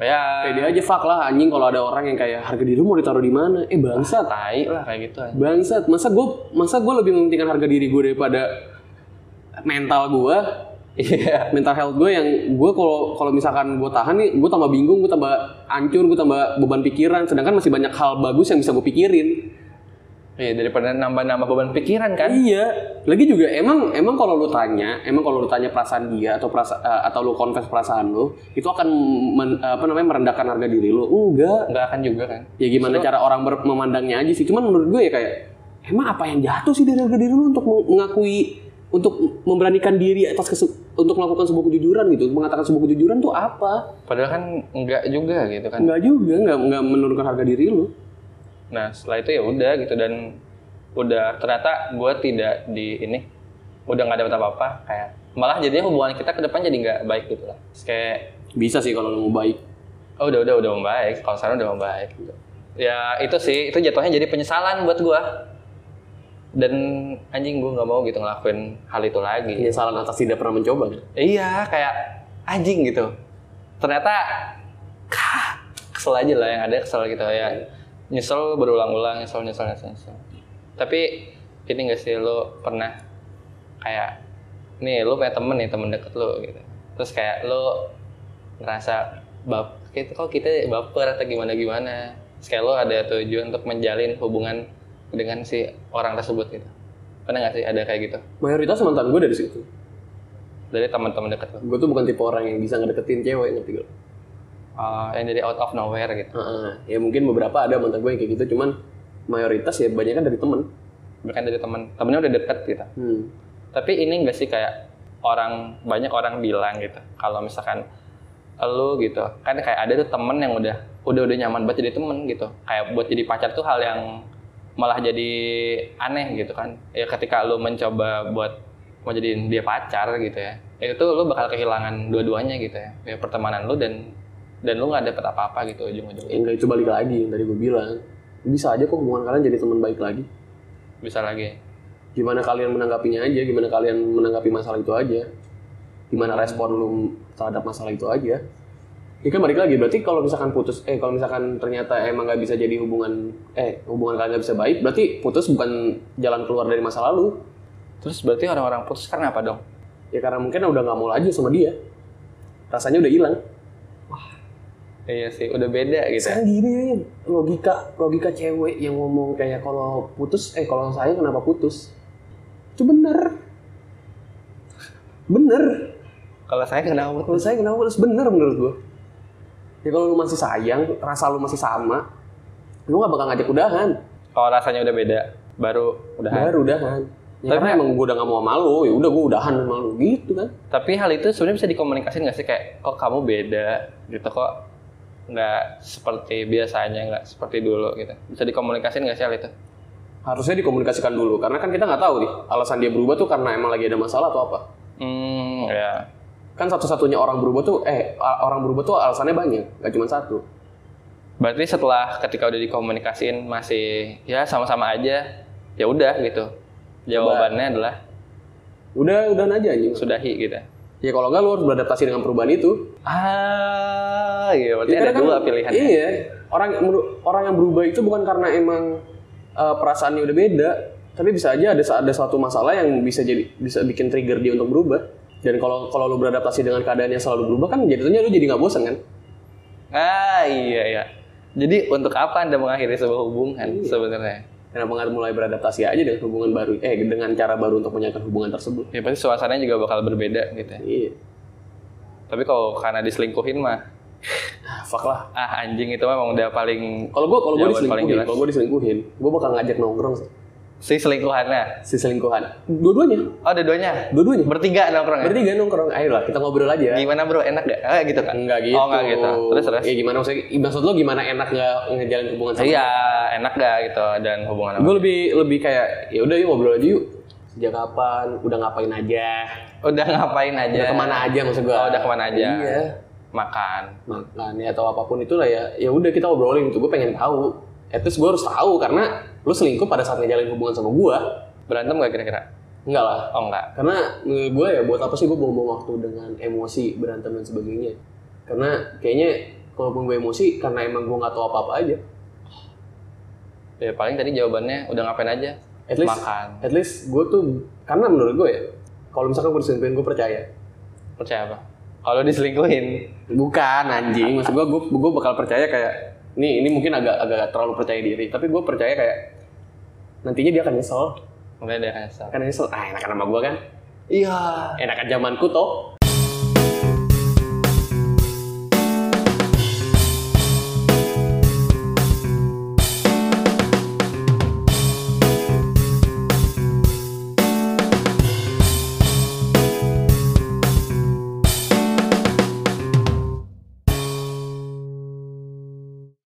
ya
pede aja fuck lah anjing kalau ada orang yang kayak harga diri lu mau ditaruh di mana eh bangsat
tai lah kayak gitu aja.
Bangsat, masa gue masa gue lebih mementingkan harga diri gue daripada mental gue,
iya
mental health gue yang gue kalau kalau misalkan gue tahan nih, gue tambah bingung, gue tambah ancur, gue tambah beban pikiran. Sedangkan masih banyak hal bagus yang bisa gue pikirin.
iya daripada nambah-nambah beban pikiran kan
Iya. Lagi juga emang emang kalau lu tanya, emang kalau lu tanya perasaan dia atau perasa, eh, atau lu confess perasaan lu, itu akan men- apa namanya merendahkan harga diri lu. Enggak.
nggak akan juga kan
ya gimana cara orang ber- memandangnya aja sih cuman menurut gue ya kayak emang apa yang jatuh sih dari harga diri lu untuk meng- mengakui untuk memberanikan diri atas kesu- untuk melakukan sebuah kejujuran gitu mengatakan sebuah kejujuran tuh apa
padahal kan nggak juga gitu kan
enggak juga enggak enggak menurunkan harga diri lu
Nah setelah itu ya udah gitu dan udah ternyata gue tidak di ini udah nggak dapat apa-apa kayak malah jadinya hubungan kita ke depan jadi nggak baik gitu lah Terus kayak
bisa sih kalau lu mau baik
oh udah udah udah membaik kalau sekarang udah membaik gitu ya itu sih itu jatuhnya jadi penyesalan buat gue dan anjing gue nggak mau gitu ngelakuin hal itu lagi
penyesalan atas tidak pernah mencoba kan?
iya kayak anjing gitu ternyata kah, kesel aja lah yang ada kesel gitu ya nyesel berulang-ulang nyesel nyesel nyesel nyesel tapi ini gak sih lo pernah kayak nih lo punya temen nih temen deket lo gitu terus kayak lo ngerasa bap kita kok kita baper atau gimana gimana terus kayak lo ada tujuan untuk menjalin hubungan dengan si orang tersebut gitu pernah gak sih ada kayak gitu
mayoritas mantan gue dari situ
dari teman-teman deket lo
gue tuh bukan tipe orang yang bisa ngedeketin cewek ngerti gak?
Uh, yang dari out of nowhere gitu.
Heeh. ya mungkin beberapa ada mantan gue yang kayak gitu cuman mayoritas ya banyak kan dari temen
Bukan dari teman, temennya udah deket gitu.
hmm.
Tapi ini enggak sih kayak orang banyak orang bilang gitu. Kalau misalkan lu gitu, kan kayak ada tuh temen yang udah udah udah nyaman buat jadi temen gitu. Kayak buat jadi pacar tuh hal yang malah jadi aneh gitu kan. Ya ketika lu mencoba buat mau jadiin dia pacar gitu ya. Itu tuh lu bakal kehilangan dua-duanya gitu ya. Ya pertemanan lu dan dan lu nggak dapet apa-apa gitu ujung-ujungnya.
enggak Ya, itu balik lagi yang tadi gue bilang bisa aja kok hubungan kalian jadi teman baik lagi
Bisa lagi.
gimana kalian menanggapinya aja gimana kalian menanggapi masalah itu aja gimana respon lu terhadap masalah itu aja ini kan balik lagi berarti kalau misalkan putus eh kalau misalkan ternyata emang nggak bisa jadi hubungan eh hubungan kalian nggak bisa baik berarti putus bukan jalan keluar dari masa lalu
Terus berarti orang-orang putus karena apa dong?
ya karena mungkin udah nggak mau lagi sama dia rasanya udah hilang
Iya sih, udah beda gitu. ya.
Sekarang gini ya, logika logika cewek yang ngomong kayak kalau putus eh kalau saya kenapa putus? Itu bener. Bener.
Kalau saya kenapa putus?
Kalau saya kenapa putus bener menurut gua. Ya kalau lu masih sayang, rasa lu masih sama, lu nggak bakal ngajak udahan.
Kalau rasanya udah beda, baru udah.
Baru udahan. Ya,
Tapi-
karena emang gua udah gak mau sama lu, ya udah gua udahan sama lu gitu kan.
Tapi hal itu sebenarnya bisa dikomunikasikan nggak sih kayak kok kamu beda gitu kok nggak seperti biasanya nggak seperti dulu gitu bisa dikomunikasikan nggak sih hal itu
Harusnya dikomunikasikan dulu, karena kan kita nggak tahu nih alasan dia berubah tuh karena emang lagi ada masalah atau apa.
hmm ya
Kan satu-satunya orang berubah tuh, eh orang berubah tuh alasannya banyak, gak cuma satu.
berarti setelah ketika udah dikomunikasiin masih ya sama-sama aja ya udah gitu jawabannya adalah
Udah, udah aja anjing.
sudahi gitu
Ya kalau nggak lu harus beradaptasi dengan perubahan itu.
ah iya berarti
Ya,
ada
karena kan-
dua pilihan
Iya. Orang menur- orang yang berubah itu bukan karena emang eh, perasaannya udah beda, tapi bisa aja ada ada suatu masalah yang bisa jadi bisa bikin trigger dia untuk berubah. Dan kalau kalau lu beradaptasi dengan keadaan yang selalu berubah kan jadinya lu jadi nggak bosan kan?
Ah iya ya. Jadi untuk apa anda mengakhiri sebuah
Iya.
hubungan sebenarnya?
Kenapa nggak mulai beradaptasi aja dengan hubungan baru? Eh dengan cara baru untuk menyangkal hubungan tersebut.
Ya pasti suasananya juga bakal berbeda gitu. ya.
Iya.
Tapi kalau karena diselingkuhin mah,
Ah, fuck lah.
ah anjing itu memang udah paling
Kalau gua kalau gua
Jawaban paling
diselingkuhin,
jelas.
kalau gua diselingkuhin, gua bakal ngajak nongkrong sih.
si selingkuhannya.
si selingkuhan. Dua-duanya,
Oh ada duanya.
dua-duanya.
Bertiga nongkrong ya?
Bertiga nongkrong, ayolah kita ngobrol aja.
Gimana bro? Enak gak? Ah, gitu kan?
Enggak gitu.
Iya. Oh enggak gitu. Terus terus.
Ya gimana maksudnya? Maksud lo gimana enak nggak ngejalin hubungan sama?
Iya enak gak gitu dan hubungan apa?
Gue lebih lebih kayak ya udah yuk ngobrol aja yuk. Sejak kapan? Udah ngapain aja?
Udah ngapain aja?
Udah kemana aja maksud gue?
Oh, udah kemana aja?
Iya.
Makan.
Makan ya atau apapun itulah ya. Ya udah kita ngobrolin itu gue gitu, pengen tahu. at least gue harus tahu karena lu selingkuh pada saat ngejalin hubungan sama gue
Berantem nggak kira-kira?
enggak lah
Oh enggak.
karena menurut gue ya buat apa sih gue buang-buang waktu dengan emosi berantem dan sebagainya karena kayaknya kalaupun gue emosi karena emang gue nggak tahu apa-apa aja
Ya paling tadi jawabannya udah ngapain aja?
at least
Makan.
at least gue tuh karena menurut gue ya kalau misalkan gue diselingkuhin gue percaya
Percaya apa? Kalau diselingkuhin,
bukan anjing maksud gue gue gue bakal percaya kayak nih ini mungkin agak agak terlalu percaya diri tapi gue percaya kayak nantinya dia akan nyesel
mulai dia akan nyesel.
akan nyesel ah enakan sama gue kan
Iya.
enakan zamanku toh